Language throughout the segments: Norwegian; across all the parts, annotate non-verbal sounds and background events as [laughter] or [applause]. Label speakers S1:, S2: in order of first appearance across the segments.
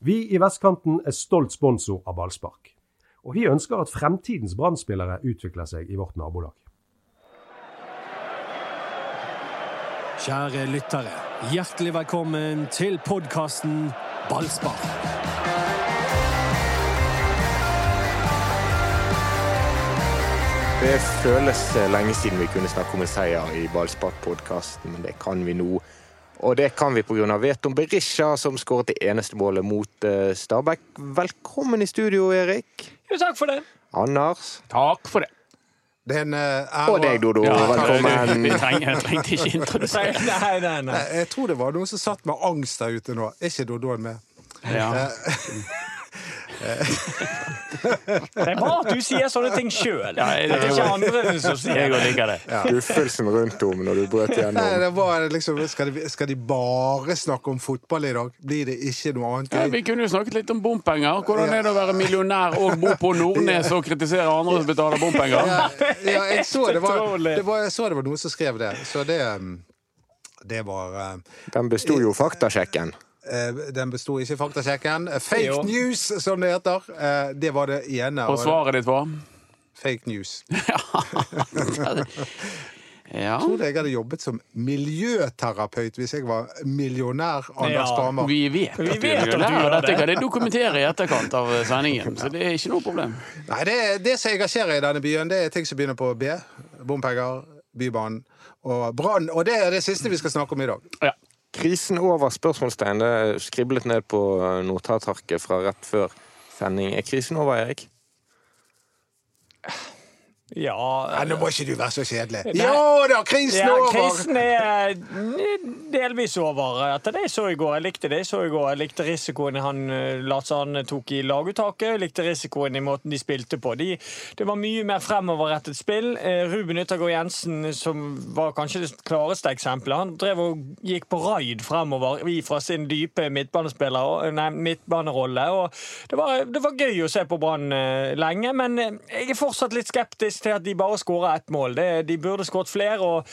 S1: Vi i Vestkanten er stolt sponsor av ballspark. Og vi ønsker at fremtidens brannspillere utvikler seg i vårt nabolag.
S2: Kjære lyttere, hjertelig velkommen til podkasten Ballspar.
S3: Det føles eh, lenge siden vi kunne snakke om en seier i Ballspark-podkasten, men det kan vi nå. Og det kan vi pga. Veton Berisha, som skåret det eneste målet mot eh, Stabæk. Velkommen i studio, Erik.
S4: Jo, takk for det.
S3: Anders.
S5: Takk for det.
S6: Det er en eh, ære
S3: Og deg, Dodo.
S5: Vi,
S3: Velkommen.
S5: vi trenger, jeg trengte ikke
S4: Nei,
S5: introdusere.
S4: nei, nei. nei.
S6: Jeg jeg tror det var noen som satt med angst der ute nå. Er ikke Dodoen med?
S5: Ja.
S4: Det er bra at du sier sånne ting sjøl. Det
S5: jeg-
S4: er ikke andre som sier
S5: Jeg
S4: det.
S5: òg liker det.
S3: Skuffelsen rundt om når du brøt
S6: Nei,
S3: igjennom.
S6: det var liksom Skal de, skal de bare snakke om fotball i dag? Blir det ikke noe annet
S5: Ja,
S6: gøy?
S5: vi kunne jo snakket litt om bompenger. Hvordan er det å være millionær og bo på Nordnes og kritisere andre som betaler bompenger?
S6: Ja, ja, jeg så det var,
S4: Utrolig.
S6: det var Jeg så det var noen som skrev det. Så det um, Det var um,
S3: Den besto jo faktasjekken.
S6: eh, Den besto ikke i faktasjekken. Fake
S4: Jo.
S6: news, som det heter. Eh, Det var det ene.
S5: Og svaret ditt var?
S6: Fake news.
S5: Ja.
S6: Jeg trodde jeg hadde jobbet som miljøterapeut hvis jeg var millionær Anders
S4: Ja.
S6: Barmer.
S5: Vi vet
S4: Vi
S5: at du
S4: vet at
S5: er
S4: du
S5: millionær, og
S4: gjør
S5: dette
S4: det.
S5: kan jeg dokumentere i etterkant av sendingen. Så det er ikke noe problem.
S6: Nei, det, det som engasjerer i denne byen, det er ting som begynner på B. Bompenger, Bybanen og brann. Og det er det siste vi skal snakke om i dag.
S5: Ja.
S3: Krisen over spørsmålstegn. Det er skriblet ned på notatarket fra rett før sending. Er krisen over, Erik?
S6: Nei,
S4: Ja,
S6: nå må ikke du være så kjedelig.
S4: Nei.
S6: Jo da, krisen
S4: ja
S6: er over!
S4: krisen er eh, delvis over. Etter det jeg så i går, jeg likte det jeg så i går. Jeg likte risikoen han eh, Lars Arne tok i laguttaket. Jeg likte risikoen i måten de spilte på. De, det var mye mer fremoverrettet spill. Eh, Ruben Yttergård Jensen, som var kanskje det klareste eksempelet, han drev og gikk på raid fremover fra sin dype midtbanespiller, og- nei, midtbanerolle. Og det, var, det var gøy å se på Brann eh, lenge, men eh, jeg er fortsatt litt skeptisk til at de bare skårer ett mål. Det, de burde skåret flere. og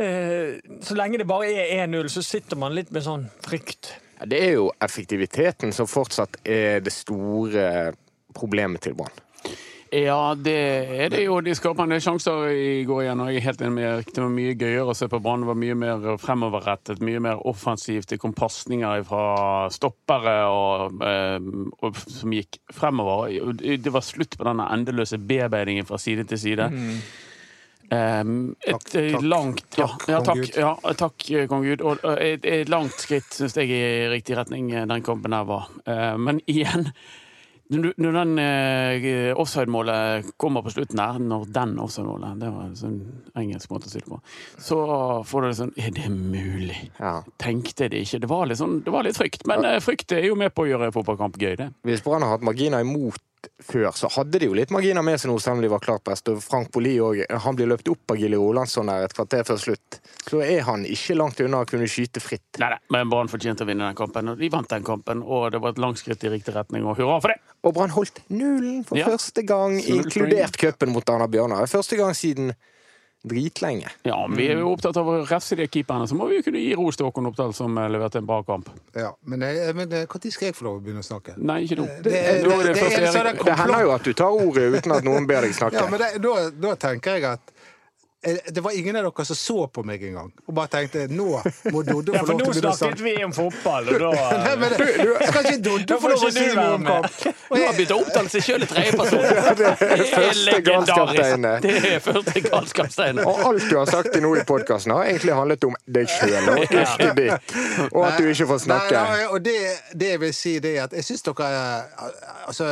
S4: Eh, så lenge det bare er 1-0, så sitter man litt med sånn frykt.
S3: Ja, Det er jo effektiviteten som fortsatt er det store problemet til Brann.
S5: Ja, det er det jo. De skaper en del sjanser i går igjen. og jeg er helt enig med Erik. Det var mye gøyere å se på Brann. Det var mye mer fremoverrettet, mye mer offensivt. Det kom pasninger fra stoppere og, eh, og, som gikk fremover. Og Det var slutt på denne endeløse bearbeidingen fra side til side. Eh, et
S6: Takk, takk.
S5: langt ja,
S6: Takk,
S5: ja,
S6: kong
S5: takk,
S6: Gud.
S5: ja, takk, eh, kong Gud. Og eh, et, et langt skritt, syns jeg, i riktig retning eh, den kampen der var. Eh, Men [laughs] igjen når, du- når den eh, offside-målet kommer på slutten der, når den offside-målet Det var en sånn engelsk måte å si det på. Så får du det sånn Er det mulig?
S3: Ja.
S5: Tenkte det ikke. Det var litt, sånn, det var litt frykt, men eh, frykt er jo med på å gjøre fotballkamp gøy, det.
S3: Hvis Brann har hatt marginer imot før, så hadde de jo litt marginer med seg nå selv om de var klart best. Og Frank Poli òg. Han blir løpt opp av Gilly Rolandsson der et kvarter før slutt. Så er han ikke langt unna å kunne skyte fritt.
S5: Nei, nei, men Brann fortjente å vinne den kampen, og de vant den kampen. Og det var et langt skritt i riktig retning, og hurra for det!
S3: Og Brann holdt nullen for
S5: Ja.
S3: første gang,
S5: Null
S3: inkludert cupen mot Arna Bjørnar. Første gang siden dritlenge.
S5: Ja, men Vi er jo opptatt av å refse de keeperne, så må vi jo kunne gi ros til Håkon Oppdal, som eh, leverte en bra kamp.
S6: Ja, men eh, men, eh, når skal jeg få lov å begynne å snakke?
S5: Nei, ikke nå.
S6: Det,
S5: Nå er det først
S6: en sånn
S5: Erik.
S3: Det hender jo at du tar ordet uten at noen ber deg
S6: Ja, men
S3: snakke.
S6: det, da, da tenker jeg at eh, det var ingen av dere som så på meg engang og bare tenkte nå må Doddo
S4: Ja,
S6: få
S4: for
S6: lov
S4: nå
S6: til å begynne å
S4: snakket
S6: snakke.
S4: vi om fotball, og
S6: [laughs] Nei,
S4: da
S6: men, skal ikke Doddo
S4: Da
S6: få
S4: får
S6: lov
S4: ikke
S6: til å si
S4: du
S6: noe
S4: være
S6: om
S4: med.
S6: kamp?
S5: Nå har han begynt å opptale seg sjøl i [laughs] tredjeperson!
S4: eh,
S3: første
S4: [laughs]
S3: galskapstegnet.
S5: Det er første galskapstegn.
S3: Og alt du har sagt til nå i podkasten, har egentlig handlet om deg sjøl og yrket ditt. Og at du ikke får snakke.
S6: Nei, nei, og det, det jeg vil si, det er at jeg syns dere eh, Altså,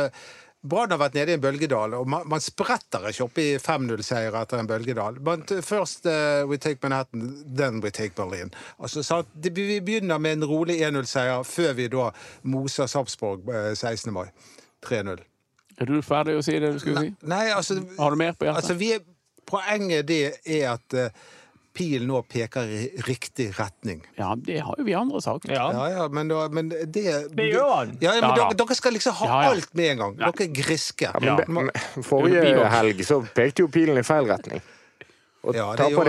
S6: Brann har vært nede i en bølgedal, og man, man spretter ikke opp i 5-0-seier etter en bølgedal. Men t- først eh, we take Manhattan, then we take Berlin. Altså, sant? Det, vi begynner med en rolig 1-0-seier før vi da moser Sarpsborg eh, 16. mai. 3-0.
S5: [laughs] Er du ferdig å si det du skulle si?
S6: Nei, altså
S5: Har du mer på hjertet?
S6: Altså, vi er, poenget det er at eh, pilen nå peker i riktig retning.
S5: Ja, det har jo vi andre sagt.
S4: ja.
S6: Ja, ja, men, da, men det
S4: Det gjør han.
S6: Ja, ja, men
S5: Ja, ja.
S6: dere, dere skal liksom ha
S5: Ja, ja.
S6: alt med en gang. Dere er griske.
S3: Ja, men,
S6: Ma-
S3: men Forrige helg så pekte jo pilen i feil retning. Og
S6: Ja, det
S3: taper
S6: Og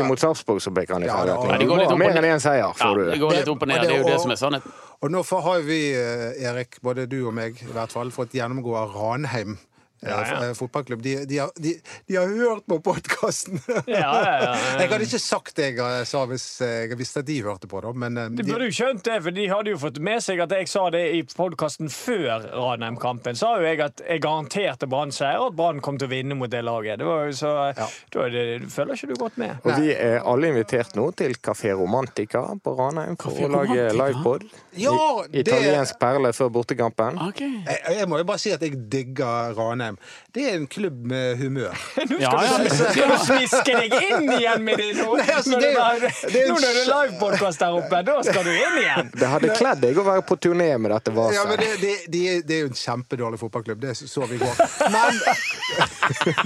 S6: nå får- har jo vi, eh, Erik, både du og meg i hvert fall, fått gjennomgå av Ranheim. eh,
S4: Ja, ja.
S6: f- eh, Fotballklubb. De, de, har, de, de har hørt på podkasten!
S4: Ja, ja, ja, ja.
S6: Jeg hadde ikke sagt det jeg sa hvis jeg visste at de hørte på, da. Men eh,
S4: De
S6: de-
S4: burde jo skjønt det, for de hadde jo fått med seg at jeg sa det i podkasten før Ranheim-kampen. Sa jo jeg at jeg garanterte Brann seier, og at Brann kom til å vinne mot det laget. Det var jo så,
S6: Ja.
S4: da er det, følger ikke du godt med.
S3: Og vi er alle invitert nå til Kafé Romantica på Ranheim for å
S5: Café
S3: lage
S5: Romantica?
S3: livepod.
S6: Ja,
S3: I-
S6: det-
S3: Italiensk perle før bortekampen.
S5: OK.
S6: jeg, jeg må jo bare si at jeg digger Ranheim. Det er en klubb med humør.
S5: Ja, ja.
S4: Skal du sviske deg inn igjen med det nå?
S6: Nei, altså,
S4: når
S6: det-
S4: det var,
S6: det er en
S4: nå når det er livepodkast der oppe, da skal du inn igjen!
S3: Det hadde kledd deg å være på turné med dette
S6: Ja, men
S3: vaset.
S6: det, det, de, er- det er jo en kjempedårlig fotballklubb, det så vi i går. Men, [laughs]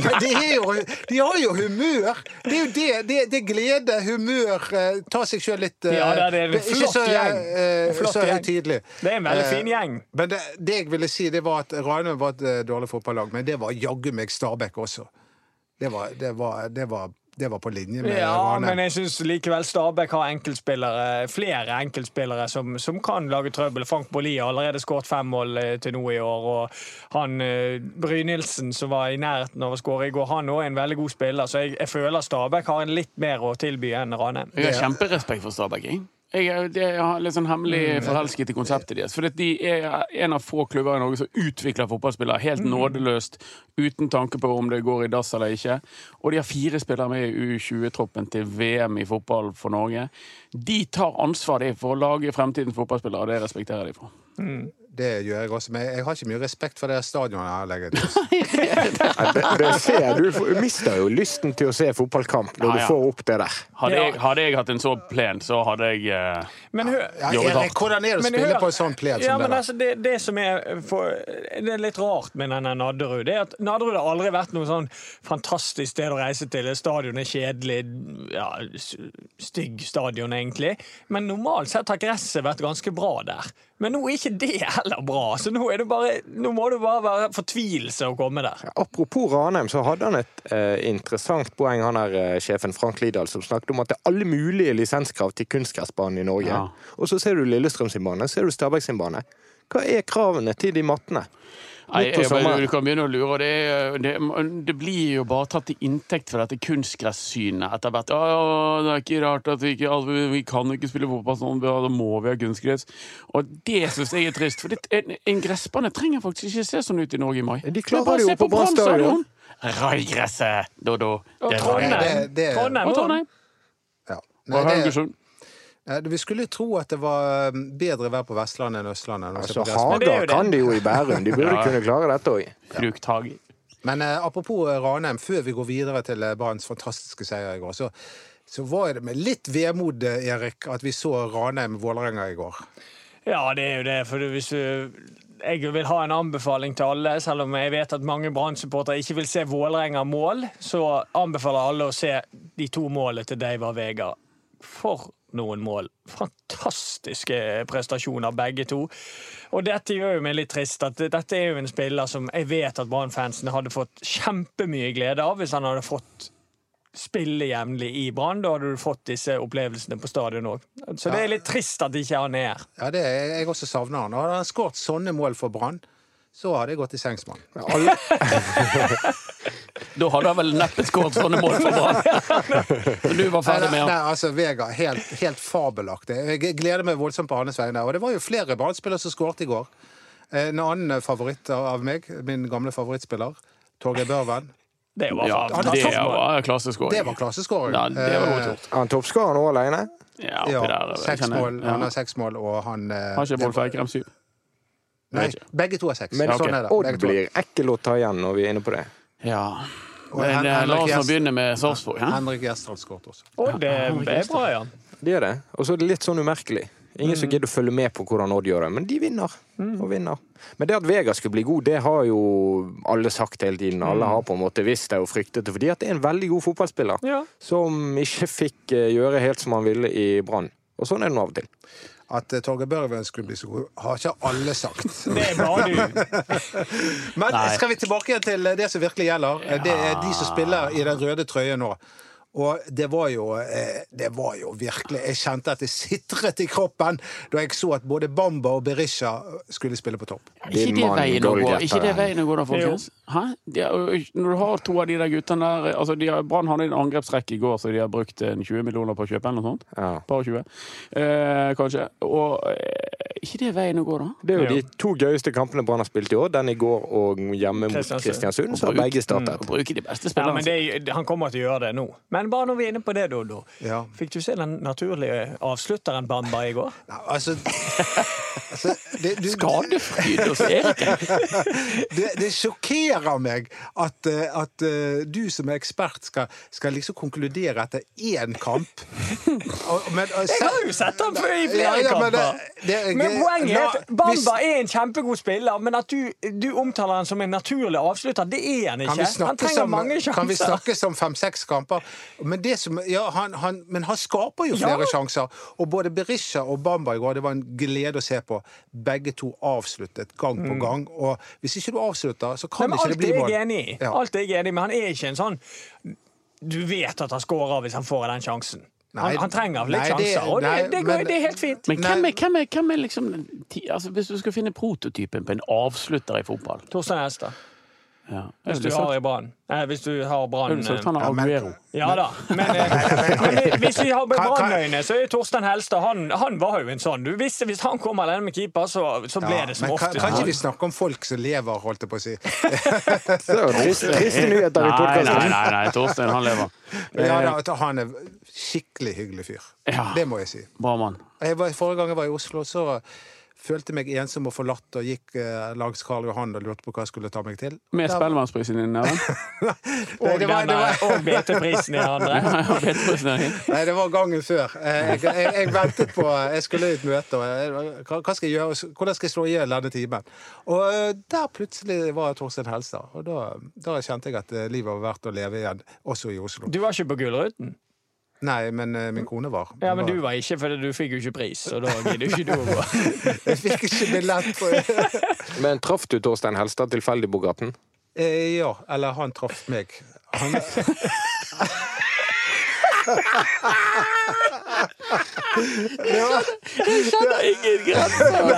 S6: men de, er jo, de har jo humør! Det er jo det. Det, det er glede, humør, eh, ta seg sjøl litt eh,
S4: Ja, det er en
S6: ikke
S4: flott
S6: så,
S4: gjeng.
S6: eh,
S4: En flott
S6: så
S4: gjeng.
S6: høytidelig.
S4: Det er en veldig
S6: Eh,
S4: fin gjeng.
S6: Men det, det jeg ville si, det var at Ranheim var et eh, dårlig fotballag, men det var jaggu meg Stabæk også. Det var, det, var, det, var, det var på linje med
S4: Ja, men
S6: Ranheim.
S4: jeg syns likevel Stabæk har enkeltspillere, flere enkeltspillere som, som kan lage trøbbel. Frank Bolli har allerede skåret fem mål eh, til nå i år. Og han eh, Brynildsen, som var i nærheten av å skåre i går, han òg er en veldig god spiller. Så jeg, jeg føler Stabæk har en litt mer å tilby enn Ranheim.
S5: Jeg har kjemperespekt for Stabæk. Jeg. Jeg, er- det- jeg har litt sånn hemmelig forelsket i konseptet deres. For de er en av få klubber i Norge som utvikler fotballspillere helt nådeløst, uten tanke på om det går i dass eller ikke. Og de har fire spillere med i U20-troppen til VM i fotball for Norge. De tar ansvar de, for å lage fremtidens fotballspillere, og det respekterer de for.
S6: Det gjør jeg også, men jeg har ikke mye respekt for det stadionet her. legger jeg til.
S3: Ja, Det, det ser du. Du mister jo lysten til å se fotballkamp når
S5: Ja, ja.
S3: du får opp det der.
S5: Hadde,
S4: Ja.
S5: jeg, hadde jeg hatt en så plen, så hadde jeg eh,
S4: Men hør,
S6: Ja,
S5: Jobbet
S6: Erik,
S5: hardt.
S6: hvordan er det å
S4: Men
S6: spille
S4: hør-
S6: på en sånn pled som
S4: ja,
S6: det
S4: men
S6: der?
S4: altså, det, det som er for, Det er litt rart med denne Nadderud. Det er at Nadderud har aldri vært noe sånn fantastisk sted å reise til. Stadion er kjedelig. Ja, s- stygg stadion, egentlig. Men normalt sett har gresset vært ganske bra der. Men nå er ikke det heller bra. Så nå, er det bare, nå må det bare være fortvilelse å komme der.
S3: Apropos Ranheim, så hadde han et eh, interessant poeng, han her eh, sjefen Frank Lidahl, som snakket om at det er alle mulige lisenskrav til kunstgressbanen i Norge.
S5: Ja.
S3: Og så ser du Lillestrøm sin bane, ser du Stabæk sin bane. Hva er kravene til de mattene?
S5: Nei,
S3: Midt på
S5: jeg, bare,
S3: sommeren.
S5: du kan begynne å lure. og Det, er- det, det blir jo bare tatt til inntekt for dette kunstgressynet etter hvert. Å, ja, det er ikke rart at vi ikke altså, vi- vi kan ikke spille fotball sånn, ja, da må vi ha kunstgress. Og det syns jeg er trist. For det, en, en gressbane trenger faktisk ikke se sånn ut i Norge i mai.
S3: De klarer
S5: Men bare
S3: det jo
S5: se
S3: på Brann stadion.
S5: Raigresset, Dodo.
S4: Og
S5: Det er
S4: Trondheim,
S6: det-
S5: Raigresset.
S6: det-
S4: Trondheim,
S5: Og Trondheim.
S6: Ja. Nei,
S5: Og
S6: det-
S5: Haugesund.
S6: Ja, Vi skulle tro at det var um, bedre vær på Vestlandet enn Østlandet. når vi ser
S3: Altså,
S6: på gressbanen.
S4: det er jo
S3: Haga
S4: det.
S3: kan de jo i Bærum, de [laughs] burde kunne klare dette òg.
S5: Frukthager.
S6: Men eh, apropos eh, Ranheim, før vi går videre til eh, Branns fantastiske seier i går, så, så var det med litt vemod, eh, Erik, at vi så Ranheim-Vålerenga i går.
S4: Ja, det er jo det. For hvis du jeg vil ha en anbefaling til alle, selv om jeg vet at mange Brann-supportere ikke vil se Vålerenga mål, så anbefaler alle å se de to målene til Deiva Vega. For noen mål! Fantastiske prestasjoner, begge to. Og dette gjør jo meg litt trist. at Dette er jo en spiller som jeg vet at Brann-fansen hadde fått kjempemye glede av hvis han hadde fått spille jevnlig i Brann. Da hadde du fått disse opplevelsene på stadion òg. Så det er litt trist at ikke han er her.
S6: Ja, det er Jeg også savner han. Og Hadde han skåret sånne mål for Brann, så hadde jeg gått i sengs med han.
S5: Da hadde han vel neppe skåret sånne mål for Brann. Når du var ferdig
S6: Nei,
S5: med
S6: nei,
S5: han.
S6: altså, Vega, helt, helt fabelaktig. Jeg gleder meg voldsomt på hans vegne. Og det var jo flere Brann-spillere som skåret i går. Eh, En annen favoritt av meg, min gamle favorittspiller, Torgeir Børven.
S4: Det var
S5: Ja, det
S4: fantastisk.
S5: var klasseskåring.
S6: Det var klasseskåring. Eh,
S5: Ja, det var godt gjort.
S3: Han toppskårer nå alene.
S5: Eh, Ja,
S6: Ja,
S5: oppi der.
S6: seks
S5: kjenner jeg.
S6: mål,
S5: Ja.
S6: Han har seks mål, og han eh,
S5: Har ikke mål for Eikrem 7.
S6: Nei,
S5: vet
S6: begge to har seks.
S3: Men
S6: sånn er det.
S3: Odd
S6: Begge to.
S3: blir ekkel å ta igjen når vi er inne på det.
S5: Ja. Men
S6: Hen-
S5: eh, la
S6: Henrik
S5: oss nå
S6: Gjest-
S5: begynne med Sarpsborg. hæ?
S6: Henrik Gjerstrand skåret også.
S4: Og det er bra, ja.
S3: Det er det. Og så er det litt sånn umerkelig. Ingen
S4: Mm.
S3: som gidder å følge med på hvordan Odd gjør det, men de vinner. Og vinner. Men det at Vega skulle bli god, det har jo alle sagt hele tiden.
S4: Mm.
S3: Alle har på en måte visst det og fryktet det, fordi at det er en veldig god fotballspiller
S4: Ja.
S3: som ikke fikk eh, gjøre helt som han ville i Brann. Og sånn er det nå av og til.
S6: At eh, Torgeir Børven skulle bli så god, har ikke alle
S5: [laughs]
S6: sagt.
S4: Det er bare
S6: [laughs]
S4: du.
S6: Men skal vi tilbake igjen til eh, det som virkelig gjelder? Eh, Det er de som spiller i den røde trøyen nå. Og det var jo eh, Det var jo virkelig Jeg kjente at det sitret i kroppen da jeg så at både Bamba og Berisha skulle spille på topp.
S3: Din
S5: Ikke det
S3: mann
S5: veien å gå,
S3: Golgata.
S5: ikke det veien å gå da, folkens? Hæ? De er, jo- når du har to av de der guttene der altså de har, Brann hadde en angrepsrekke i går, så de har brukt en 20 millioner på å kjøpe eller noe sånt.
S3: Ja.
S5: Par og 20, eh, kanskje. Og eh, ikke det veien å gå, da?
S3: Det er jo de to gøyeste kampene Brann har spilt i år. Den i går og hjemme mot
S4: Kristiansund.
S3: Kristiansund, så har begge startet.
S5: Mm, Bruke de beste
S4: Ja,
S5: spillerne.
S4: men det, han kommer til å gjøre det nå. Men bare når vi er inne på det, Dodo.
S6: Ja.
S4: Fikk du se den naturlige avslutteren Bamba i går?
S6: Nei, altså, altså det, du,
S5: Skadefryd hos [laughs] Erik.
S6: [laughs] det, det sjokkerer meg at, eh, at eh, du som er ekspert skal, skal liksom konkludere etter én kamp. Og- men, og
S4: Jeg
S6: se-
S4: har jo sett ham før i flere
S6: Ja, ja, men det-
S4: kamper!
S6: det-
S4: men
S6: det-
S4: poenget er at
S6: la-
S4: Bamba er en kjempegod spiller, men at du, du omtaler han som en naturlig avslutter, det er han
S6: Kan vi
S4: ikke. Han
S6: snakke
S4: trenger
S6: som,
S4: mange
S6: kan vi
S4: sjanser.
S6: snakke som fem-seks kamper? Men, det som, ja, han, han, men han skaper jo
S4: Ja.
S6: flere sjanser. Og både Berisha og Bamba i går, det var en glede å se på. Begge to avsluttet gang på gang. Og hvis ikke du avslutter, så
S4: Nei,
S6: kan
S4: men
S6: ikke
S4: Mm. alt
S6: det
S4: er
S6: bli mål.
S4: jeg enig i.
S6: Ja.
S4: Alt er jeg enig i, men han er ikke en sånn Du vet at han scorer hvis han får den sjansen.
S6: Nei,
S4: han, han trenger litt
S6: nei, det-
S4: sjanser, og det,
S6: nei,
S4: det, går-
S6: men-
S4: det er helt fint.
S5: Men hvem
S6: Nei.
S5: er, hvem er, hvem er liksom den ti- altså, Hvis du skal finne prototypen på en avslutter i fotball
S4: Torstein Hestad,
S5: ja.
S4: hvis du
S5: Jeg
S4: har
S5: ville
S4: i Brann. Eh, Hvis du har Brann
S5: sagt- jeg ville sagt
S4: eh,
S5: han er sånn. Aguero.
S4: Ja da. Men,
S6: [laughs]
S4: eh, men hvis vi har med
S6: Kan- kan-
S4: Brannøyne, så er Torstein Helstad han, han var jo en sånn. Du visste Hvis han kom alene med keeper, så, så ble
S6: Ja,
S4: det som
S6: men kan,
S4: oftest.
S6: kan ikke vi snakke om folk som lever, holdt jeg på
S4: [laughs]
S6: å si?
S3: Så det er jo trist- Triste nyheter i
S5: Nei, nei,
S3: podkasten.
S5: nei, nei, Torstein han lever.
S6: Ja,
S4: Eh,
S6: da, at han er skikkelig hyggelig fyr.
S5: Ja.
S6: Det må jeg si.
S5: Bra mann.
S6: Jeg var, forrige gang jeg var i Oslo, så følte jeg meg ensom og forlatt og gikk eh, langs Karl Johan og lurte på hva jeg skulle ta meg til.
S5: Med
S6: Der-
S5: Spellemannsprisen i neven.
S6: Nei,
S4: Og
S6: det var, det
S4: denne-
S6: var,
S4: og BT-prisen i
S5: [laughs]
S4: andre.
S6: nei, det var gangen før. Eh, Jeg, jeg, jeg ventet på Jeg skulle i et møte, og jeg, hva hva skal jeg gjøre? hvordan skal jeg slå i hjel denne timen? Og eh, der plutselig var Torstein Helstad, og da, da kjente jeg at eh, livet var verdt å leve igjen, også i Oslo.
S4: Du var ikke på Gullruten.
S6: Nei, men eh, min kone var.
S4: Ja, men
S6: Hun
S4: du var ikke, for du fikk jo ikke pris, og da gidder jo ikke du å gå.
S6: [laughs] Jeg fikk ikke billett på
S4: Mm.
S3: Men traff du Torstein Helstad tilfeldig på gaten?
S6: Eh, ja, eller han traff meg. Han... det var,
S5: Ingen grenser!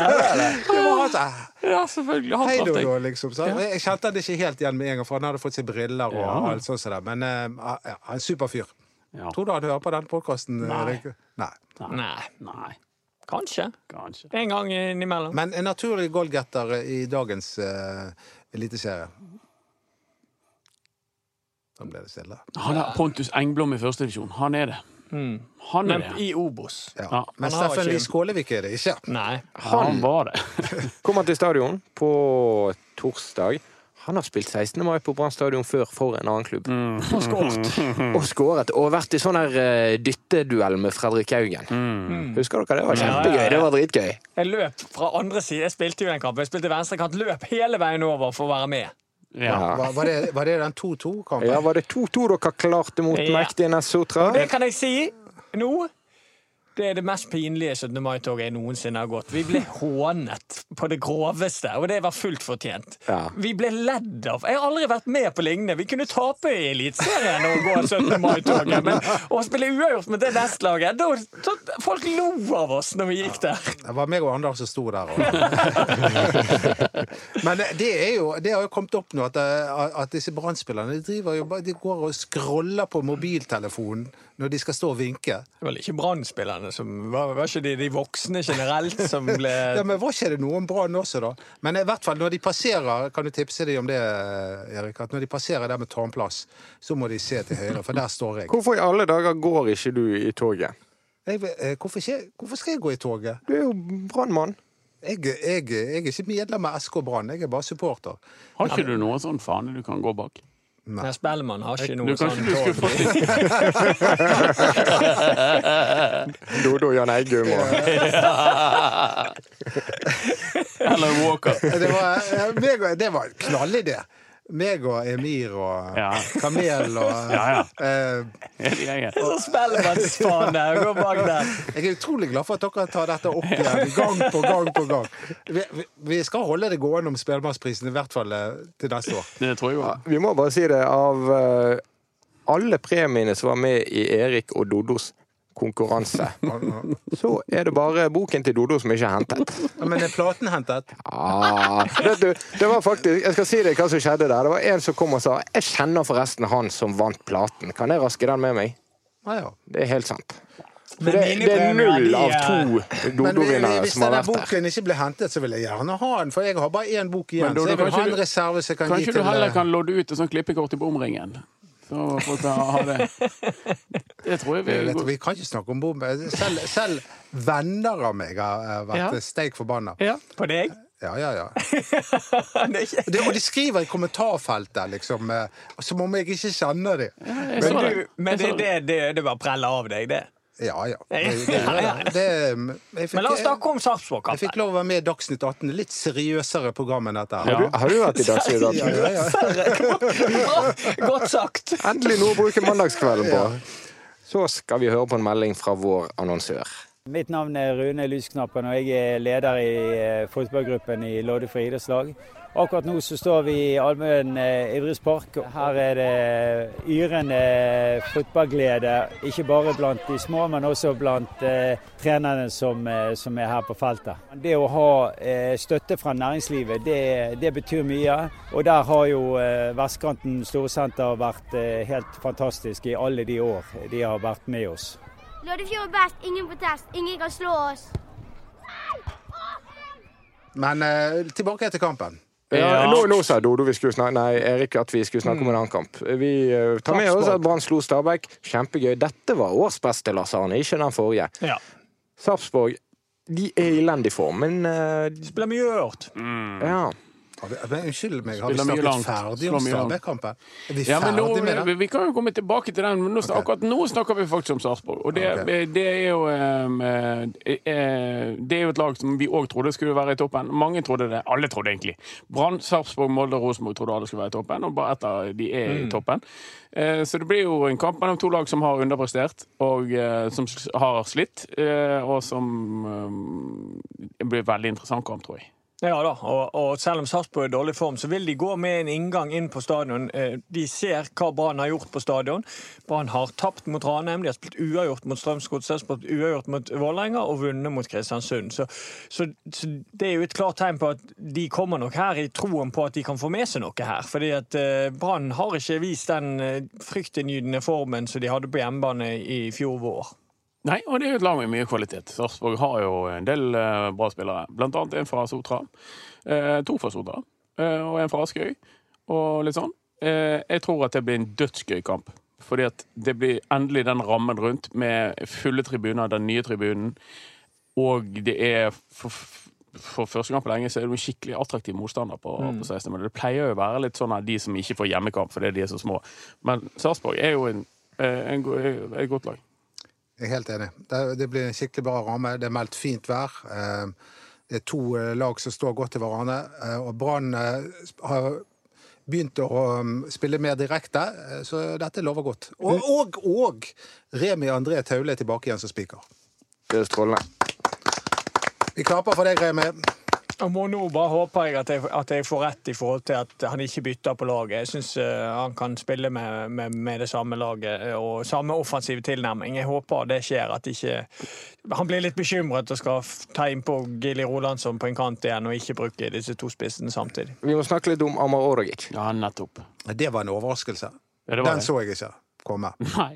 S6: det var han som
S5: [laughs] Ja, selvfølgelig. Han
S6: Hei,
S5: traff deg.
S6: Dodo, liksom. sant? Og Jeg kjente han ikke helt igjen med en gang, for han hadde fått seg briller og
S5: Ja.
S6: alt sånt. som det. Men eh, ja, han er superfyr.
S5: Ja.
S6: Tror du han hører på den podkasten?
S5: Nei.
S6: Nei.
S4: Nei,
S5: Nei,
S4: kanskje.
S5: kanskje.
S4: En gang innimellom.
S6: Men en naturlig goalgetter i dagens eh, eliteserie. Da ble det stille.
S5: Han er Pontus Engblom i første divisjon. Han er det.
S4: Mm.
S5: Han er
S4: Men
S5: det.
S4: i Obos.
S6: Ja.
S5: Ja,
S6: Men
S4: han har
S6: Steffen
S4: ikke-
S6: Lie Skålevik er det ikke.
S4: Nei.
S5: Han var det. [laughs]
S3: Kom han til stadion på torsdag. Han har spilt 16. mai på Brann stadion før for en annen klubb.
S4: [laughs] Og skåret.
S3: Og skåret. Og vært i sånn her eh, dytteduell med Fredrik Haugen. Mm. Husker dere? Det var kjempegøy. Det var dritgøy.
S4: Jeg løp fra andre side. Jeg spilte jo den kampen. Jeg spilte venstrekant. Løp hele veien over for å være med.
S5: Ja.
S6: Var, var, det, var det den 2-2-kampen?
S3: Ja, Var det 2-2 dere klarte mot
S4: Ja.
S3: mektige Nessotra?
S4: Det kan jeg si nå. Det er det mest pinlige 17. mai-toget jeg noensinne har gått. Vi ble hånet på det groveste, og det var fullt fortjent.
S3: Ja.
S4: Vi ble ledd av. Jeg har aldri vært med på lignende. Vi kunne tape i Eliteserien og gå 17. mai-toget, men å spille uavgjort med det nestlaget da, da, Folk lo av oss når vi gikk der.
S6: Det var meg og Anders som sto
S4: [laughs]
S6: der. Og. Men det, er jo, det har jo kommet opp nå at, eh, at disse brannspillerne de driver jo bare- de går og scroller på mobiltelefonen når de skal stå og vinke.
S4: Det var vel ikke Brann-spillerne som var, var ikke de, de voksne generelt som
S3: [laughs]
S4: ble
S6: Ja, men Var ikke det noe om Brann også, da? Men i hvert fall når de passerer, kan du tipse dem om det, Erik, at når de passerer der med tarmplass, så må de se til høyre, for der står jeg.
S3: Hvorfor i alle dager går ikke du i toget?
S6: jeg vet- eh, hvorfor, ikke, hvorfor skal jeg gå i toget?
S3: Du er jo brannmann.
S6: Jeg, jeg, jeg er ikke medlem av SK Brann, jeg er bare supporter.
S5: Har ikke du noen sånn fane du kan gå bak?
S4: Nei, Spellemann har ikke
S5: Du,
S4: noe
S5: kanskje
S4: sånn
S5: du skulle
S4: tog.
S5: fått litt
S3: Dodo Jan Eggum og
S5: Eller
S6: [laughs]
S5: Walker.
S6: Det var, eh, meg og, det var en knallidé. Meg og Emir og
S5: Ja.
S6: Kamel og
S5: Ja,
S6: eh,
S5: Hele gjengen.
S4: Så Spellemannsfane gå bak der.
S6: Jeg er utrolig glad for at dere tar dette opp igjen gang på gang på gang. Vi, vi, vi skal holde det gående om Spellemannsprisen, i hvert fall eh, til neste år.
S5: Det tror jeg jo.
S3: Vi må bare si det. Av eh, alle premiene som var med i Erik og Dodos
S6: [laughs]
S3: konkurranse. Så er det bare boken til Dodo som ikke er hentet.
S6: Ja, Men er platen hentet?
S3: Ah, vet du, det var faktisk, Jeg skal si deg hva som skjedde der. Det var en som kom og sa 'Jeg kjenner forresten han som vant platen'. Kan jeg raske den med meg?
S6: Ja, ja.
S3: Det er helt sant. Så
S4: Men
S3: det,
S4: mine
S3: det er
S4: premier,
S3: null
S4: de
S3: av
S4: er-
S3: to
S6: Men vi-
S3: Dodo-vinnere
S6: hvis
S3: som har
S6: denne
S3: vært der.
S6: boken ikke blir hentet, så vil jeg gjerne ha den, for jeg har bare én bok igjen.
S5: Men da-
S6: så jeg
S5: da
S6: vil
S5: kan
S6: ha
S5: ikke
S6: en
S5: du-
S6: reserve som jeg kan gi
S5: Kanskje
S6: til eh,
S5: du heller kan lodde ut et sånt klippekort i bomringen? Så folk kan ha [laughs] det. Det tror jeg vi
S6: Jeg vet,
S5: går
S6: vi kan ikke snakke om bom. Selv, selv venner av meg har eh, vært
S5: Ja.
S6: steik forbanna.
S5: ja.
S4: På deg? [laughs]
S6: Ja, ja, ja.
S4: Det er ikke-
S6: Det, og de skriver i kommentarfeltet, liksom, eh, som om jeg ikke kjenner dem.
S5: Jeg
S4: Men,
S5: så det.
S4: du, men
S5: Jeg
S4: det,
S5: så
S4: det, det, det var prella av deg, det.
S6: Ja,
S4: [laughs]
S6: ja. Det,
S4: Ja,
S6: det,
S4: ja.
S6: det, jeg fikk,
S4: Men la oss snakke om
S6: Jeg fikk
S4: Sarpsborg-kampen.
S6: lov å være med i Dagsnytt 18. Litt seriøsere program enn dette. her.
S5: Ja.
S3: Har du- Har du vært i Dagsnytt
S6: Ja,
S3: 18?
S6: ja, ja.
S4: Bra, [laughs] Godt sagt.
S3: Endelig noe å bruke mandagskvelden på. Så skal vi høre på en melding fra vår annonsør.
S7: Mitt navn er Rune Lysknappen, og jeg er leder i eh, fotballgruppen i Loddefri idrettslag. Akkurat nå så står vi i Almøen eh, idrettspark. Her er det yrende fotballglede, ikke bare blant de små, men også blant eh, trenerne som, eh, som er her på feltet. Det å ha eh, støtte fra næringslivet, det, det betyr mye. Og der har jo eh, Vestkanten Storsenter vært eh, helt fantastisk i alle de år de har vært med oss.
S8: Loddefjord er best, ingen protest, ingen kan slå oss.
S6: Men eh, tilbake til kampen.
S3: Ja. Nå, nå sa Dodo vi skulle snakke, nei, Erik at vi skulle snakke om
S4: Mm.
S3: en annen kamp. Vi eh, tar med oss at Brann slo Stabæk. Kjempegøy. Dette var års beste, Lars Arne, ikke den forrige.
S4: Ja.
S3: Sarpsborg de er i elendig form, men eh,
S4: Spiller mye ørt.
S5: Mm.
S3: ja.
S6: Har vi, men, unnskyld meg, har vi
S5: Spiller mye
S6: snakket
S5: langt.
S6: ferdig
S5: Slår
S6: om
S5: mye langt.
S6: Stabæk-kampen? Er vi
S5: Ja, men nå,
S6: ferdig med
S5: vi,
S6: det?
S5: vi kan jo komme tilbake til den, men nå, snak- akkurat nå snakker vi faktisk om Sarpsborg. Og det, eh,
S6: Ok.
S5: det er jo em, eh, eh, Det er jo et lag som vi òg trodde skulle være i toppen. Mange trodde det. Alle trodde egentlig. Brann, Sarpsborg, Molde og Rosenborg trodde alle skulle være i toppen, og bare ett av de er i toppen. Eh, Så det blir jo en kamp mellom to lag som har underprestert, og eh, som s- har slitt. eh, Og som em, Det blir en veldig interessant kamp, tror jeg.
S4: Ja da, og, og selv om Sarpsborg er i dårlig form, så vil de gå med en inngang inn på stadion. Eh, De ser hva Brann har gjort på stadion. Brann har tapt mot Ranheim, de har spilt uavgjort mot Strømsgodset, spilt uavgjort mot Vålerenga og vunnet mot Kristiansund. Så, så, så det er jo et klart tegn på at de kommer nok her i troen på at de kan få med seg noe her. Fordi at eh, Brann har ikke vist den eh, fryktinngytende formen som de hadde på hjemmebane i fjor vår.
S5: Nei, og det er jo et lag med mye kvalitet. Sarpsborg har jo en del eh, bra spillere. Blant annet en fra Sotra. Eh, to fra Sotra. Eh, og en fra Askøy. Og litt sånn. Eh, jeg tror at det blir en dødsgøy kamp. Fordi at det blir endelig den rammen rundt med fulle tribuner, den nye tribunen. Og det er for, for første gang på lenge så er det en skikkelig attraktiv motstander på, på 16. Men det pleier jo å være litt sånn av de som ikke får hjemmekamp fordi de er så små. Men Sarpsborg er jo en, eh, en, go- et godt lag.
S6: Jeg er helt enig. Det, det blir en skikkelig bra ramme. Det er meldt fint vær. Eh, Det er to eh, lag som står godt til hverandre. eh, Og Brann eh, sp- har begynt å um, spille mer direkte, eh, så dette lover godt. Og, og, og Remi André Taule er tilbake igjen som spiker.
S3: Det er strålende.
S6: Vi klapper for deg, Remi.
S4: Jeg må nå bare håper jeg at, jeg at jeg får rett i forhold til at han ikke bytter på laget. Jeg syns han kan spille med, med, med det samme laget eh, og samme offensive tilnærming. Jeg håper det skjer at ikke Han blir litt bekymret og skal f- ta innpå Gilly Rolandsson på en kant igjen og ikke bruke disse to spissene samtidig.
S3: Vi må snakke litt om Amar Oragic.
S5: Ja, nettopp.
S6: Det var en overraskelse.
S5: Ja, det var
S6: Den
S5: det.
S6: så jeg ikke komme.
S5: Nei.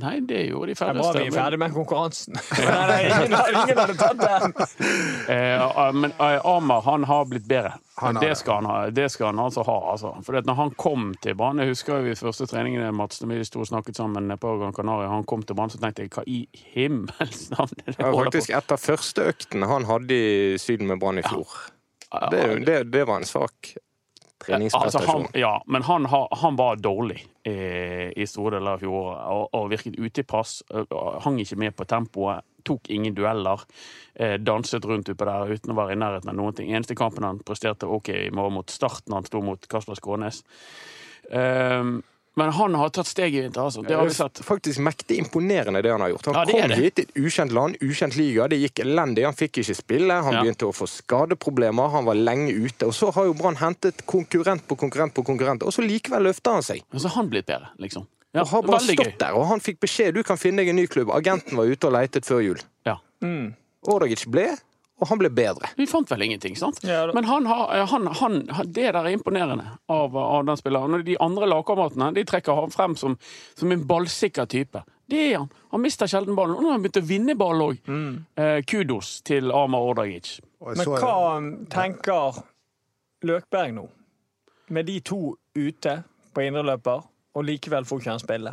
S5: Nei, det gjorde de
S4: Det er bra vi er
S5: færreste.
S4: ferdig med konkurransen. Nei, nei, ingen, ingen hadde tatt den.
S5: Eh, men eh, Amar han har blitt bedre.
S6: Han har
S5: det,
S6: det.
S5: skal han ha, det skal han altså ha. Altså. For at når han kom til Brann Jeg husker jo i første treningene Mats, når vi sto og snakket sammen på Gran Canaria. Han kom til Brann, så tenkte jeg hva i himmels navn er det
S3: Det
S5: jeg
S3: var
S5: holder
S3: faktisk
S5: på
S3: etter første økten han hadde i Syden med Brann i fjor. Det, er jo- det, det var en svak
S5: Altså, han,
S3: treningsprestasjon.
S5: ja, men han, har, han var dårlig eh, i store deler av fjoråret og, og virket ute i pass. eh, Hang ikke med på tempoet, tok ingen dueller. Eh, danset rundt oppe der uten å være i nærheten av noen ting. Eneste kampen han presterte ok i, var mot starten han sto mot Kasper Skånes. Eh, men han har tatt steg i vinter, altså. Det har vi sett.
S3: Det er faktisk mektig imponerende, det han har gjort. Han
S5: Ja, det er
S3: kom
S5: det.
S3: hit til et ukjent land, ukjent liga. Det gikk elendig. Han fikk ikke spille. Han
S5: Ja.
S3: begynte å få skadeproblemer. Han var lenge ute. Og så har jo Brann hentet konkurrent på konkurrent på konkurrent, og så likevel løfter han seg.
S5: Men så har han blitt Altså, bedre, liksom. Ja,
S3: og har bare
S5: veldig
S3: stått
S5: gøy.
S3: der. Og han fikk beskjed du kan finne deg en ny klubb. Agenten var ute og leitet før jul.
S5: Ja.
S3: Ordagic ble, og han ble bedre.
S5: Vi fant vel ingenting, sant?
S4: Ja, da-
S5: Men han har, eh, han, han, det der er imponerende av, eh, av den spilleren. Og de andre lagkameratene de trekker ham frem som, som en ballsikker type. Det er han. Han mister sjelden ballen. Og nå har han begynt å vinne ball òg. Eh, kudos til Amar Ordagic.
S6: Og
S4: Men
S6: så-
S4: hva tenker Løkberg nå? Med de to ute på indreløper, og likevel får ikke han spille.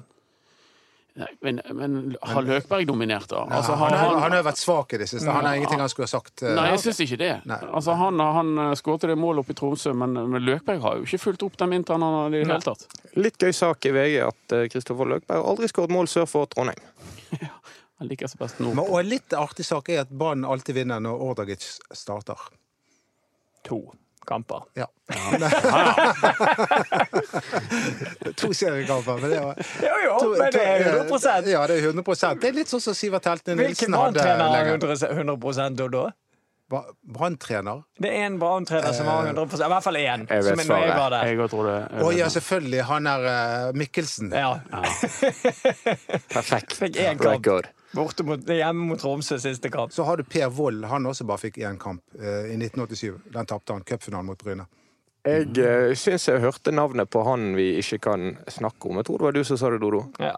S5: Nei, Men, men har Løkberg dominert, da?
S6: Ja,
S5: Altså, har
S6: han, har,
S5: han-
S6: han har jo vært svak i det siste. Han har ingenting han skulle ha sagt. eh,
S5: Nei, jeg syns ikke det.
S6: Nei.
S5: Altså, han han eh, skårte det målet oppe i Tromsø, men, men Løkberg har jo ikke fulgt opp den vinteren han har i det hele tatt.
S3: Litt gøy sak i VG at eh, Kristoffer Løkberg aldri skåret mål sør for Trondheim.
S5: Han liker seg best nå.
S6: Men, og en litt artig sak er at Brann alltid vinner når Ordagic starter.
S4: To kamper.
S6: Ja. [laughs] to seriekamper, men det var
S4: Jo, jo,
S6: to-
S4: men det er
S6: to-
S4: 100
S6: Ja, det er 100 Det er litt sånn som Sivert Heltene
S4: Hvilken
S6: Nilsen hadde
S4: Brann-trener har
S6: lenge.
S4: 100 100 av da?
S6: Ba- Brann-trener.
S4: Det er én Brann-trener som har 100 I hvert fall én.
S3: Jeg vet
S4: som er når jeg
S3: svaret.
S4: var der.
S5: Jeg tror det. jeg
S6: Å
S5: vet
S6: ja,
S5: det.
S6: selvfølgelig. Han er eh, Mikkelsen.
S4: Ja.
S3: Perfekt.
S4: Fikk én kamp
S3: Record.
S4: borte mot, hjemme mot Tromsø siste kamp.
S6: Så har du Per Wold. Han også bare fikk én kamp eh, i 1987. Den tapte han cupfinalen mot Bryne.
S3: Jeg uh, syns jeg hørte navnet på han vi ikke kan snakke om. Jeg tror det var du som sa det, Dodo.
S4: Ja.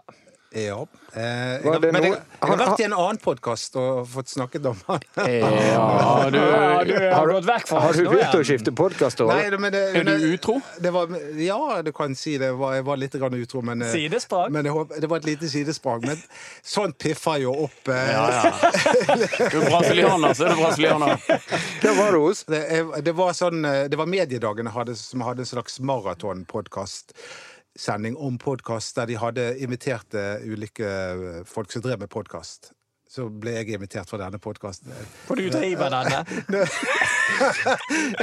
S6: Ja. Eh, jeg,
S3: Var
S6: har-
S3: det
S6: men jeg,
S3: noe-
S6: jeg har vært i en annen podkast og fått snakket om han.
S5: Ja, du,
S4: Ja, du
S3: Har
S4: har
S3: du-
S4: gått vekk fra
S3: Eh, Har
S4: oss
S3: du
S4: nå
S3: begynt å
S4: igjen.
S3: skifte podkast?
S6: [laughs] Nei, det- men det,
S5: Er du utro?
S6: Det var, ja, du kan si det. Jeg var, jeg var litt grann utro, men, eh,
S4: Sidesprang?
S6: men jeg håper- det var et lite sidesprang. Men sånt piffer jo opp. eh,
S5: Ja, ja. Du er brasilianer, så er du brasilianer.
S3: Hvem var det hos?
S6: [laughs] Det, jeg- det var sånn, eh, det var mediedagene hadde, som hadde en slags maratonpodkast. Sending om podkast der de hadde invitert eh, ulike eh, folk som drev med podkast. Så ble jeg invitert fra denne podkasten.
S4: For du driver denne.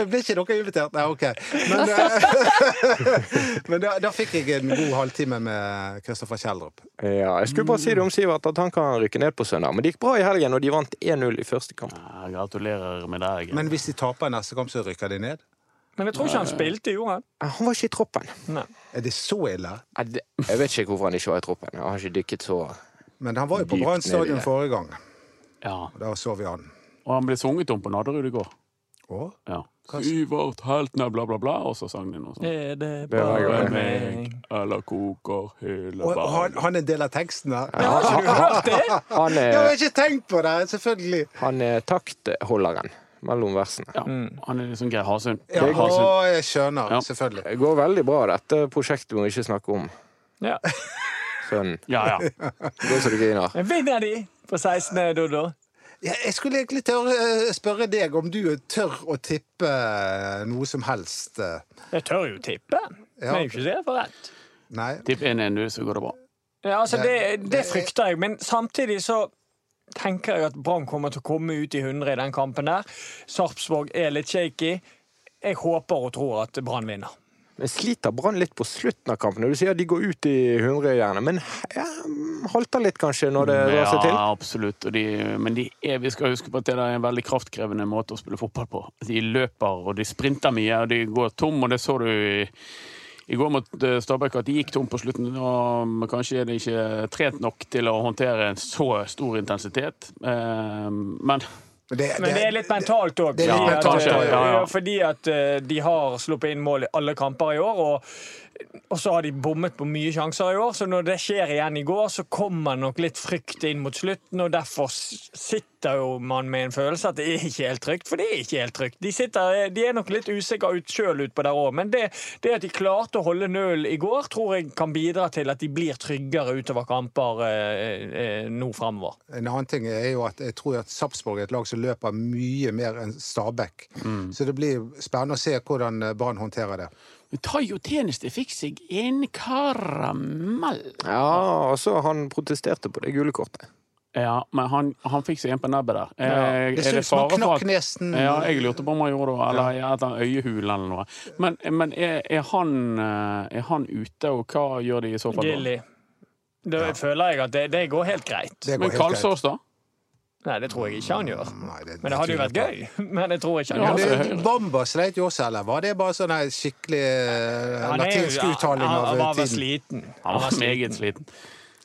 S6: Ble ikke dere invitert? Nei, OK. Men, eh, [laughs] men da, da fikk jeg en god halvtime med Kristoffer Kjeldrup.
S3: Ja, jeg skulle bare si det om Sivert, at han kan rykke ned på søndag. Men det gikk bra i helgen, og de vant 1-0 i første kamp.
S5: Ja, gratulerer med deg.
S6: Men hvis de taper neste kamp, så rykker de ned?
S4: Men jeg tror ikke han spilte, gjorde han?
S3: Eh, Han var ikke i troppen.
S4: Nei.
S6: Er det så ille?
S3: Eh, det- Jeg vet ikke hvorfor han ikke var i troppen. Jeg har ikke dykket så
S6: Men han var jo på
S3: Dypt
S6: Brann
S3: ned i
S6: stadion
S3: det.
S6: forrige gang.
S5: ja.
S6: Da så vi han.
S5: Og han ble sunget om på Nadderud i går.
S6: Å?
S5: Ja. Syvert heltene, bla, bla, bla, og så sang de noe sånt.
S4: Er det
S3: var
S5: Bare
S3: gøy.
S5: meg, eller koker hele
S6: Og, og han,
S5: verden.
S6: han er en del av teksten her.
S4: Ja, har ikke du hørt det?
S3: Han
S6: Jeg har
S3: er,
S6: ikke tenkt på det! Selvfølgelig.
S3: han er taktholderen mellom versene.
S5: Ja, han er liksom Geir Hasund.
S6: Ja,
S5: Geir
S6: å,
S5: Hasund.
S6: jeg skjønner.
S5: Ja.
S6: Selvfølgelig.
S3: Det går veldig bra, dette prosjektet må vi ikke snakke om.
S4: Ja.
S3: Sønnen.
S5: Ja, ja.
S3: Det er så du griner.
S4: Vinner de på 16. Dodo?
S6: Ja, Jeg skulle egentlig tørre, eh, spørre deg om du tør å tippe eh, noe som helst. eh.
S4: Jeg tør jo tippe. Men jeg er jo ikke så redd for rett.
S6: Nei?
S5: Tipp 1-1, du, så går det bra.
S4: Ja, altså, det, det frykter jeg, men samtidig så tenker jeg at Brann kommer til å komme ut i 100 i den kampen der. Sarpsborg er litt shaky. Jeg håper og tror at Brann vinner.
S3: Men sliter Brann litt på slutten av kampen? Du sier de går ut i 100 gjerne, men ja, halter litt kanskje når det drar seg til?
S5: Ja, absolutt. Og de, men de er, vi skal huske på at det er en veldig kraftkrevende måte å spille fotball på. De løper og de sprinter mye, og de går tom, og det så du i, i går mot eh, Stabæk at de gikk tom på slutten. Og men kanskje er de ikke trent nok til å håndtere en så stor intensitet. Eh, men
S4: Men det er litt mentalt òg.
S6: det er litt
S4: fordi, at,
S6: mentalt,
S5: ja, ja, ja.
S4: eh, fordi at eh, de har sluppet inn mål i alle kamper i år. Og, og så har de bommet på mye sjanser i år, så når det skjer igjen i går, så kommer nok litt frykt inn mot slutten. Og derfor s- sitter jo man med en følelse at det er ikke helt trygt, for det er ikke helt trygt. De, sitter, eh, de er nok litt usikre ut sjøl utpå der òg, men det, det at de klarte å holde nølen i går, tror jeg kan bidra til at de blir tryggere utover kamper eh, eh, nå framover.
S6: En annen ting er jo at jeg tror at Sarpsborg er et lag som løper mye mer enn Stabæk. Så det blir spennende å se hvordan eh, Brann håndterer det.
S5: Tayo Tjeneste fikk seg en karamell.
S3: Ja, altså, han protesterte på det gule kortet.
S5: Ja, men han, han fikk seg en på nebbet der. Eh, er
S6: Det ser ut
S5: det
S6: som han
S5: fare for
S6: knakk
S5: at
S6: nesen.
S5: Ja, jeg lurte på om han gjorde det, eller at han øyehulen eller noe. Men, men er, er, han, eh, er han ute, og hva gjør de i så fall? da?
S4: Gilly. Da føler jeg at det, det går helt greit.
S6: Det går
S5: Men
S6: helt greit.
S5: Kalsås, da?
S4: Nei, det tror jeg ikke han gjør.
S6: Nei, det-
S4: Men det hadde jo vært gøy. [laughs] Men jeg tror ikke han
S5: Ja,
S6: Men
S4: gjør det.
S6: altså, det, Bamba sleit jo også, eller var det bare sånn her skikkelig eh,
S4: Han er jo-
S6: latinsk uttaling
S4: han- Han var
S6: av
S4: vel
S6: tiden?
S4: sliten.
S5: Han var meget sliten.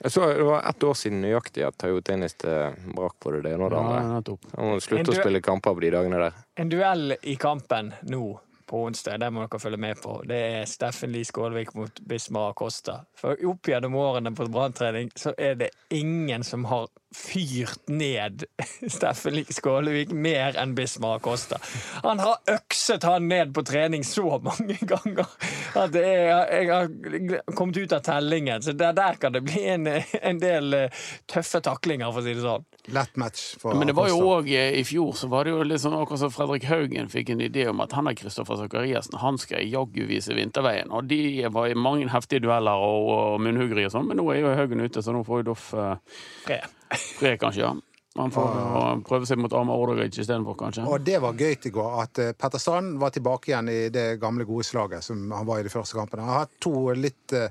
S3: Jeg så det var ett år siden nøyaktig at Tayo Tennis eh, brakk på det det ene og det
S5: Ja,
S3: andre.
S5: nettopp.
S3: Han må
S4: Men
S3: slutte
S4: du-
S3: å spille kamper på de dagene der.
S4: En duell i kampen nå på onsdag, det må dere følge med på. Det er Steffen Lie Skålvik mot Bismar Acosta. For opp gjennom årene på branntrening så er det ingen som har fyrt ned [laughs] Steffen Lie Skålvik mer enn Bismar Acosta. Han har økset han ned på trening så mange [laughs] ganger at det er, jeg har kommet ut av tellingen. Så der, der kan det bli en, en del eh, tøffe taklinger, for å si det sånn.
S6: Lett match. For
S5: Men det var jo
S6: Acosta.
S5: òg i fjor så var det jo litt sånn akkurat som Fredrik Haugen fikk en idé om at han er Kristoffer Sakariassen, han skal jaggu vise vinterveien. Og de var i mange heftige dueller og, og munnhuggeri og sånn, men nå er jo Haugen ute, så nå får jo Doff eh,
S4: Tre.
S5: fred, kanskje. ja. Han får eh, prøve seg mot Arma Ordovic istedenfor, kanskje.
S6: Og det var gøy i går, at eh, Petter Strand var tilbake igjen i det gamle, gode slaget som han var i de første kampene. Han har hatt to litt eh,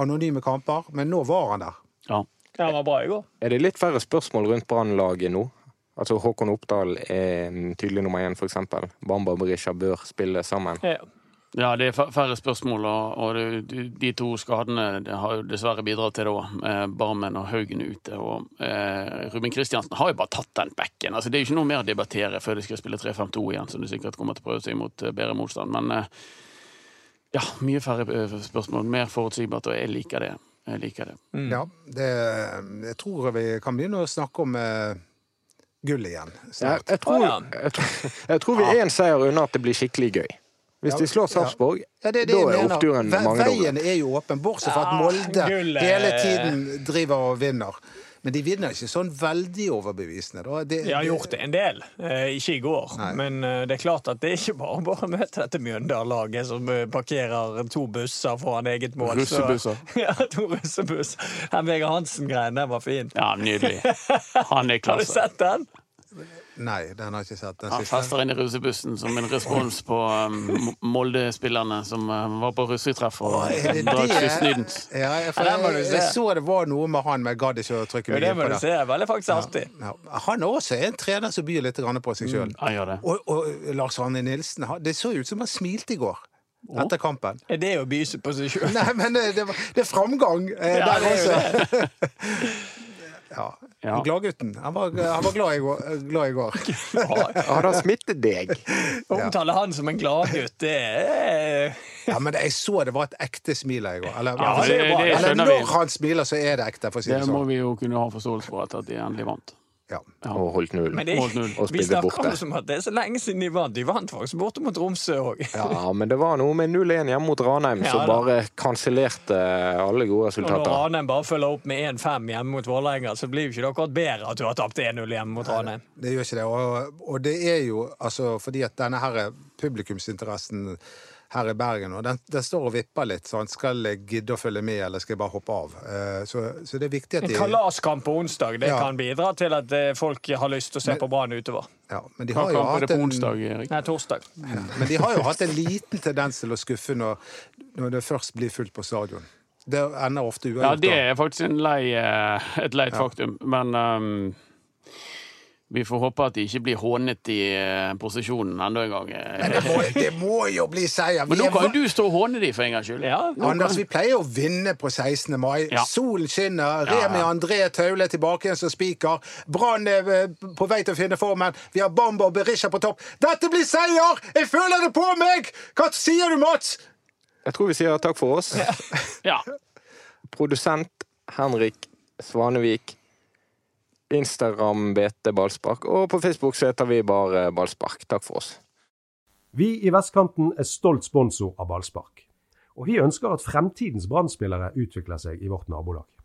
S6: anonyme kamper, men nå var han der.
S5: Ja.
S4: Ja, han var bra i går.
S3: Er det litt færre spørsmål rundt Brann-laget nå? Altså Håkon Oppdal er en tydelig nummer én, for eksempel. Bamba og Berisha bør spille sammen.
S4: Ja.
S5: Ja, det er fær- færre spørsmål, og, og det- de, de to skadene det har jo dessverre bidratt til det òg. Eh, Barmen og Haugen er ute. Og eh, Ruben Kristiansen har jo bare tatt den bekken. Altså, det er jo ikke noe mer å debattere før de skal spille 3-5-2 igjen, som de sikkert kommer til å prøve seg mot eh, bedre motstand. Men eh, ja, mye færre eh, spørsmål. Mer forutsigbart, og jeg liker det. Jeg liker det.
S4: Mm.
S6: Ja, det, eh, jeg tror vi kan begynne å snakke om eh, gull igjen
S3: Jeg,
S6: snart.
S3: jeg, tror,
S4: Å, ja.
S3: jeg, tror- jeg tror vi er én seier unna at det blir skikkelig gøy. Hvis de slår Sarpsborg,
S6: Ja, det er det
S3: da
S6: jeg
S3: er
S6: mener.
S3: oppturen
S6: Ve- Veien
S3: mangedoblet.
S6: er jo åpen, bortsett fra at
S4: Ah,
S6: Molde
S4: gullet.
S6: hele tiden driver og vinner. Men de vinner ikke sånn veldig overbevisende. da. Det,
S4: Jeg har gjort det en del, eh, ikke i går. Men eh, det er klart at det er ikke bare bare å møte dette Mjøndalen-laget som eh, parkerer to busser foran eget mål. så-
S5: Russebusser.
S4: [laughs] ja, to russebusser. Den Vegard Hansen-greien, den var fin.
S5: Ja, nydelig. Han er
S4: Har du
S5: klasse.
S4: sett den?
S6: Nei, den har jeg ikke sett. Den
S3: Ah,
S5: Han
S6: siste.
S5: fester inn i russebussen som en respons på um, Molde-spillerne som eh, var på russetreff og
S6: Er det
S5: drakk
S6: det?
S5: skyssnydens.
S6: Ja, for
S4: Ja, den må du
S6: jeg,
S4: se.
S6: jeg så det var noe med han, men jeg gadd ikke å trykke
S4: Jo,
S6: mye
S4: det må
S6: på
S4: du
S6: det.
S4: se. Veldig faktisk artig.
S6: Ja. Han er også en trener som byr litt grann på
S4: Mm.
S6: seg sjøl.
S5: Han gjør det.
S6: Og, og Lars Arne Nilsen han- Det så ut som han smilte i går
S4: Oh.
S6: etter kampen.
S4: Er det å byse på seg
S6: [laughs]
S4: sjøl?
S6: Nei, men eh, det, det, var- det er framgang eh,
S4: Ja,
S6: der
S4: det er jo
S6: også. [laughs] ja.
S5: Ja.
S6: Gladgutten. Han var, han var glad, i går, glad i
S5: [laughs]
S6: går.
S3: Har det smittet deg?
S4: Å omtale han som en gladgutt, det er
S6: Ja, men jeg så det var et ekte smil her i går. Eller,
S4: Ja,
S5: det,
S4: det er bra.
S5: det
S6: eller
S5: skjønner vi.
S6: når han smiler, så er det ekte, for å si
S5: Det
S6: det
S5: må
S6: sånn.
S5: vi jo kunne ha forståelse for etter at de endelig vant.
S6: [laughs] Ja.
S3: Og holdt null.
S4: Men det
S5: Mål null.
S4: er,
S3: Og
S4: vi
S3: spille
S4: snakker
S3: borte.
S4: om som at det er så lenge siden de vant. De vant faktisk borte mot Tromsø òg.
S3: Ja, men det var noe med 0-1 hjemme mot Ranheim
S4: Ja,
S3: som
S4: da.
S3: bare kansellerte alle gode
S4: Og når
S3: resultater.
S4: Ranheim bare følger opp med 1-5 hjemme mot Vålerenga, så blir jo ikke det akkurat bedre at du har tapt 1-0 hjemme mot Ranheim.
S6: Det gjør ikke det. Og, og det er jo altså, fordi at denne her publikumsinteressen her i Bergen, og den, den står og vipper litt, så han skal jeg gidde å følge med, eller skal jeg bare hoppe av? Eh, Så, så det er viktig at
S4: En
S6: de
S4: kalaskamp på onsdag det
S6: Ja.
S4: kan bidra til at eh, folk har lyst til å se på Brann utover.
S6: ja, men, de
S5: Hva
S6: har jo
S5: kamp er
S6: hatt
S5: det på
S6: en,
S5: onsdag, Erik?
S4: Nei, torsdag.
S6: ja, men de har jo hatt en liten tendens til å skuffe når, når det først blir fullt på stadion. Det ender ofte
S5: Ja,
S6: uavgjort.
S5: det
S6: da.
S5: er faktisk en lei, eh, et leit faktum, men um, vi får håpe at de ikke blir hånet i eh, posisjonen enda en gang. eh.
S6: Det må, det må jo bli seier!
S5: Men
S6: Vi
S5: nå
S6: er
S5: kan
S6: va-
S5: jo du stå og håne de for en gangs skyld.
S4: Ja.
S6: Anders, vi pleier å vinne på 16. mai.
S5: Ja.
S6: Solen skinner,
S5: Ja, ja.
S6: Remi André Taule er tilbake igjen som spiker. Brann er eh, på vei til å finne formen. Vi har Bamba og Berisha på topp. Dette blir seier! Jeg føler det på meg! Hva sier du, Mats?
S3: Jeg tror vi sier takk for oss.
S5: Ja.
S3: Produsent Henrik Svanevik. Instagram BT Ballspark. Og på Facebook så heter vi bare Ballspark. Takk for oss.
S1: Vi i Vestkanten er stolt sponsor av Ballspark, og vi ønsker at fremtidens brann utvikler seg i vårt nabolag.